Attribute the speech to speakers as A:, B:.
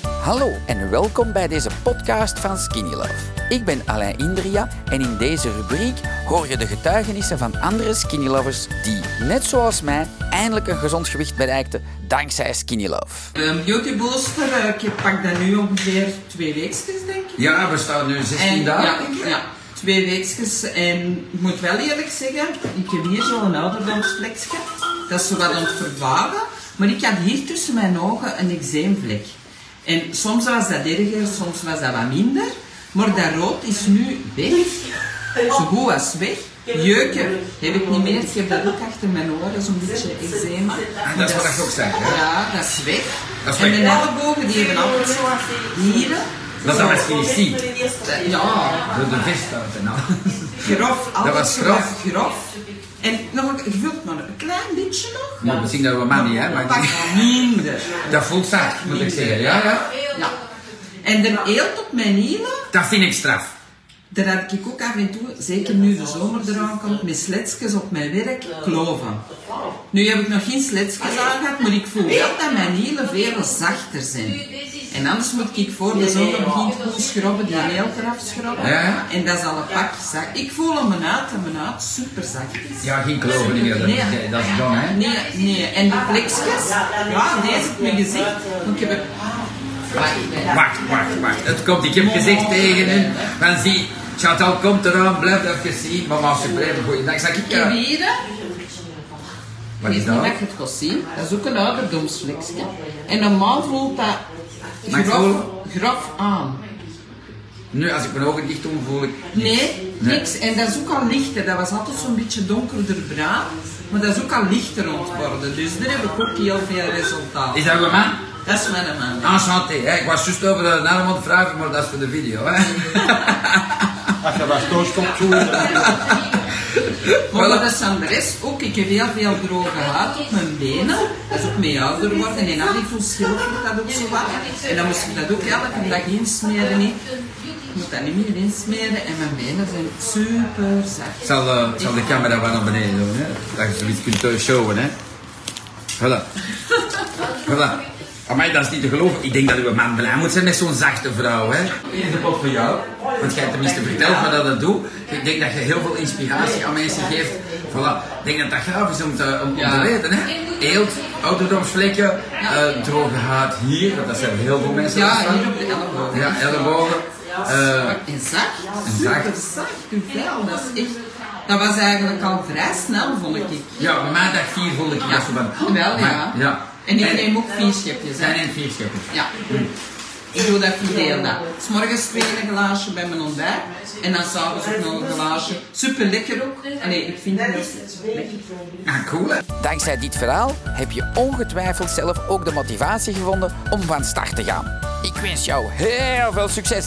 A: Hallo en welkom bij deze podcast van Skinny Love. Ik ben Alain Indria en in deze rubriek hoor je de getuigenissen van andere Skinny Lovers die, net zoals mij, eindelijk een gezond gewicht bereikten dankzij Skinny Love.
B: De beauty booster, eh, ik pak dat nu ongeveer twee weekjes, denk ik.
C: Ja, we staan nu 16 dagen. denk
B: Ja,
C: ik.
B: ja, twee weekjes. En ik moet wel eerlijk zeggen, ik heb hier zo'n ouderdomsvlekje. Dat is zo wat aan het vervagen. Maar ik had hier tussen mijn ogen een eczeemvlek. En soms was dat erger, soms was dat wat minder. Maar dat rood is nu weg. Zo goed als weg. Jeuken heb ik niet meer. Ik heb dat ook achter mijn oren, zo'n beetje eczema.
C: Ah, dat is wat ik ook zei, hè?
B: Ja, dat is weg.
C: Dat is
B: en
C: weg.
B: mijn ellebogen, die hebben altijd zo wat nieren.
C: Dat is wat je niet ziet.
B: Ja,
C: Door de nou. vest uit en al.
B: grof, altijd
C: was
B: zo
C: grof.
B: wat grof. En nog een, je wilt maar een klein beetje nog.
C: Maar we zien dat we maar niet, hè? Maar
B: Pak minder.
C: dat voelt zacht, moet ik zeggen. Ja, ja.
B: Ja. En de eelt op mijn hielen,
C: Dat vind ik straf.
B: daar heb ik ook af en toe, zeker nu de zomer eraan komt, met sletsjes op mijn werk, kloven. Nu heb ik nog geen sletsjes aangehad, maar ik voel wel dat mijn hielen veel zachter zijn. En anders moet ik voor de zomer begint goed schrobben, die eelt eraf schrobben.
C: Ja.
B: En dat is al een pak zacht. Ik voel hem uit en mijn uit super zacht is.
C: Ja, geen kloven meer. Dat,
B: Nee.
C: dat is dom, hè?
B: Nee, nee. En de plekjes? Ja, deze op mijn gezicht. Want ik heb er... Ah,
C: Wacht, wacht, wacht. Het komt. Ik heb gezegd tegen hen. Van zie, Chantal komt eraan. Blijf dat je ziet. Mama, supreme. Goeiedag. Zeg ik
B: Ik heb
C: ja.
B: hier... hè.
C: Wat
B: Ik
C: is
B: weet niet
C: dat?
B: dat je het kon zien. Dat is ook een ouderdomsvlekje. En normaal voelt dat
C: Maar ik
B: grof,
C: voel-
B: grof aan.
C: Nu, als ik mijn ogen dicht doe, voel ik.
B: Nee,
C: Nee.
B: niks. En dat is ook al lichter. Dat was altijd zo'n beetje donkerder bruin. Maar dat is ook al lichter ontworden. Dus daar heb ik ook heel veel resultaat.
C: Is dat een man?
B: Dat is mijn man.
C: Enchanté. Ah, Hè? Ik was juist over de naam aan het vragen, maar dat is voor de video, hè?
D: Als je wat doorstopt, zo is het.
B: Maar dat is aan de rest ook. Ik heb heel veel droge huid op mijn benen. Dat is ook mee ouder worden. En al die verschil vind dat ook zo wat. En dan moest ik dat ook elke dag insmeren. hè. Ik moet dat niet meer insmeren. En mijn benen zijn super
C: Ik
B: zacht.
C: zal, eh, ik zal de camera wel naar beneden doen, hè? dat je zoiets kunt eh, showen. Hè? Voilà. voilà. Amai, dat is niet te geloven. Ik denk dat uw man blij moet zijn met zo'n zachte vrouw. Hè? Hier is de pot voor jou. Want jij tenminste vertelt me dat dat doet. Ik denk dat je heel veel inspiratie aan mensen geeft. Voilà. Ik denk dat dat gaaf is om te, om, om
B: Ja.
C: te weten. Hè? Eelt, ouderdomsvlekken, eh, droge huid hier. want Dat zijn heel veel mensen.
B: Ja,
C: last van.
B: hier op de elleboog.
C: Ja, ellebogen. Eh,
B: En zacht.
C: En zacht.
B: Super zacht. Uw vel. Dat is echt... Dat was eigenlijk al vrij snel, vond ik.
C: ja, maandag 4 voelde ik dat zo van.
B: Wel, ja.
C: Maar- ja.
B: En ik neem ook vier schepjes. hè.
C: Zijn en vier scheppen.
B: Ja. Ik doe dat verdeel dat. S morgens twee een glaasje bij mijn ontbijt. En dan s'avonds ook nog een glaasje. Super lekker ook. Nee, ik vind het heel lekker.
C: Ah, cool hè?
A: Dankzij dit verhaal heb je ongetwijfeld zelf ook de motivatie gevonden om van start te gaan. Ik wens jou heel veel succes!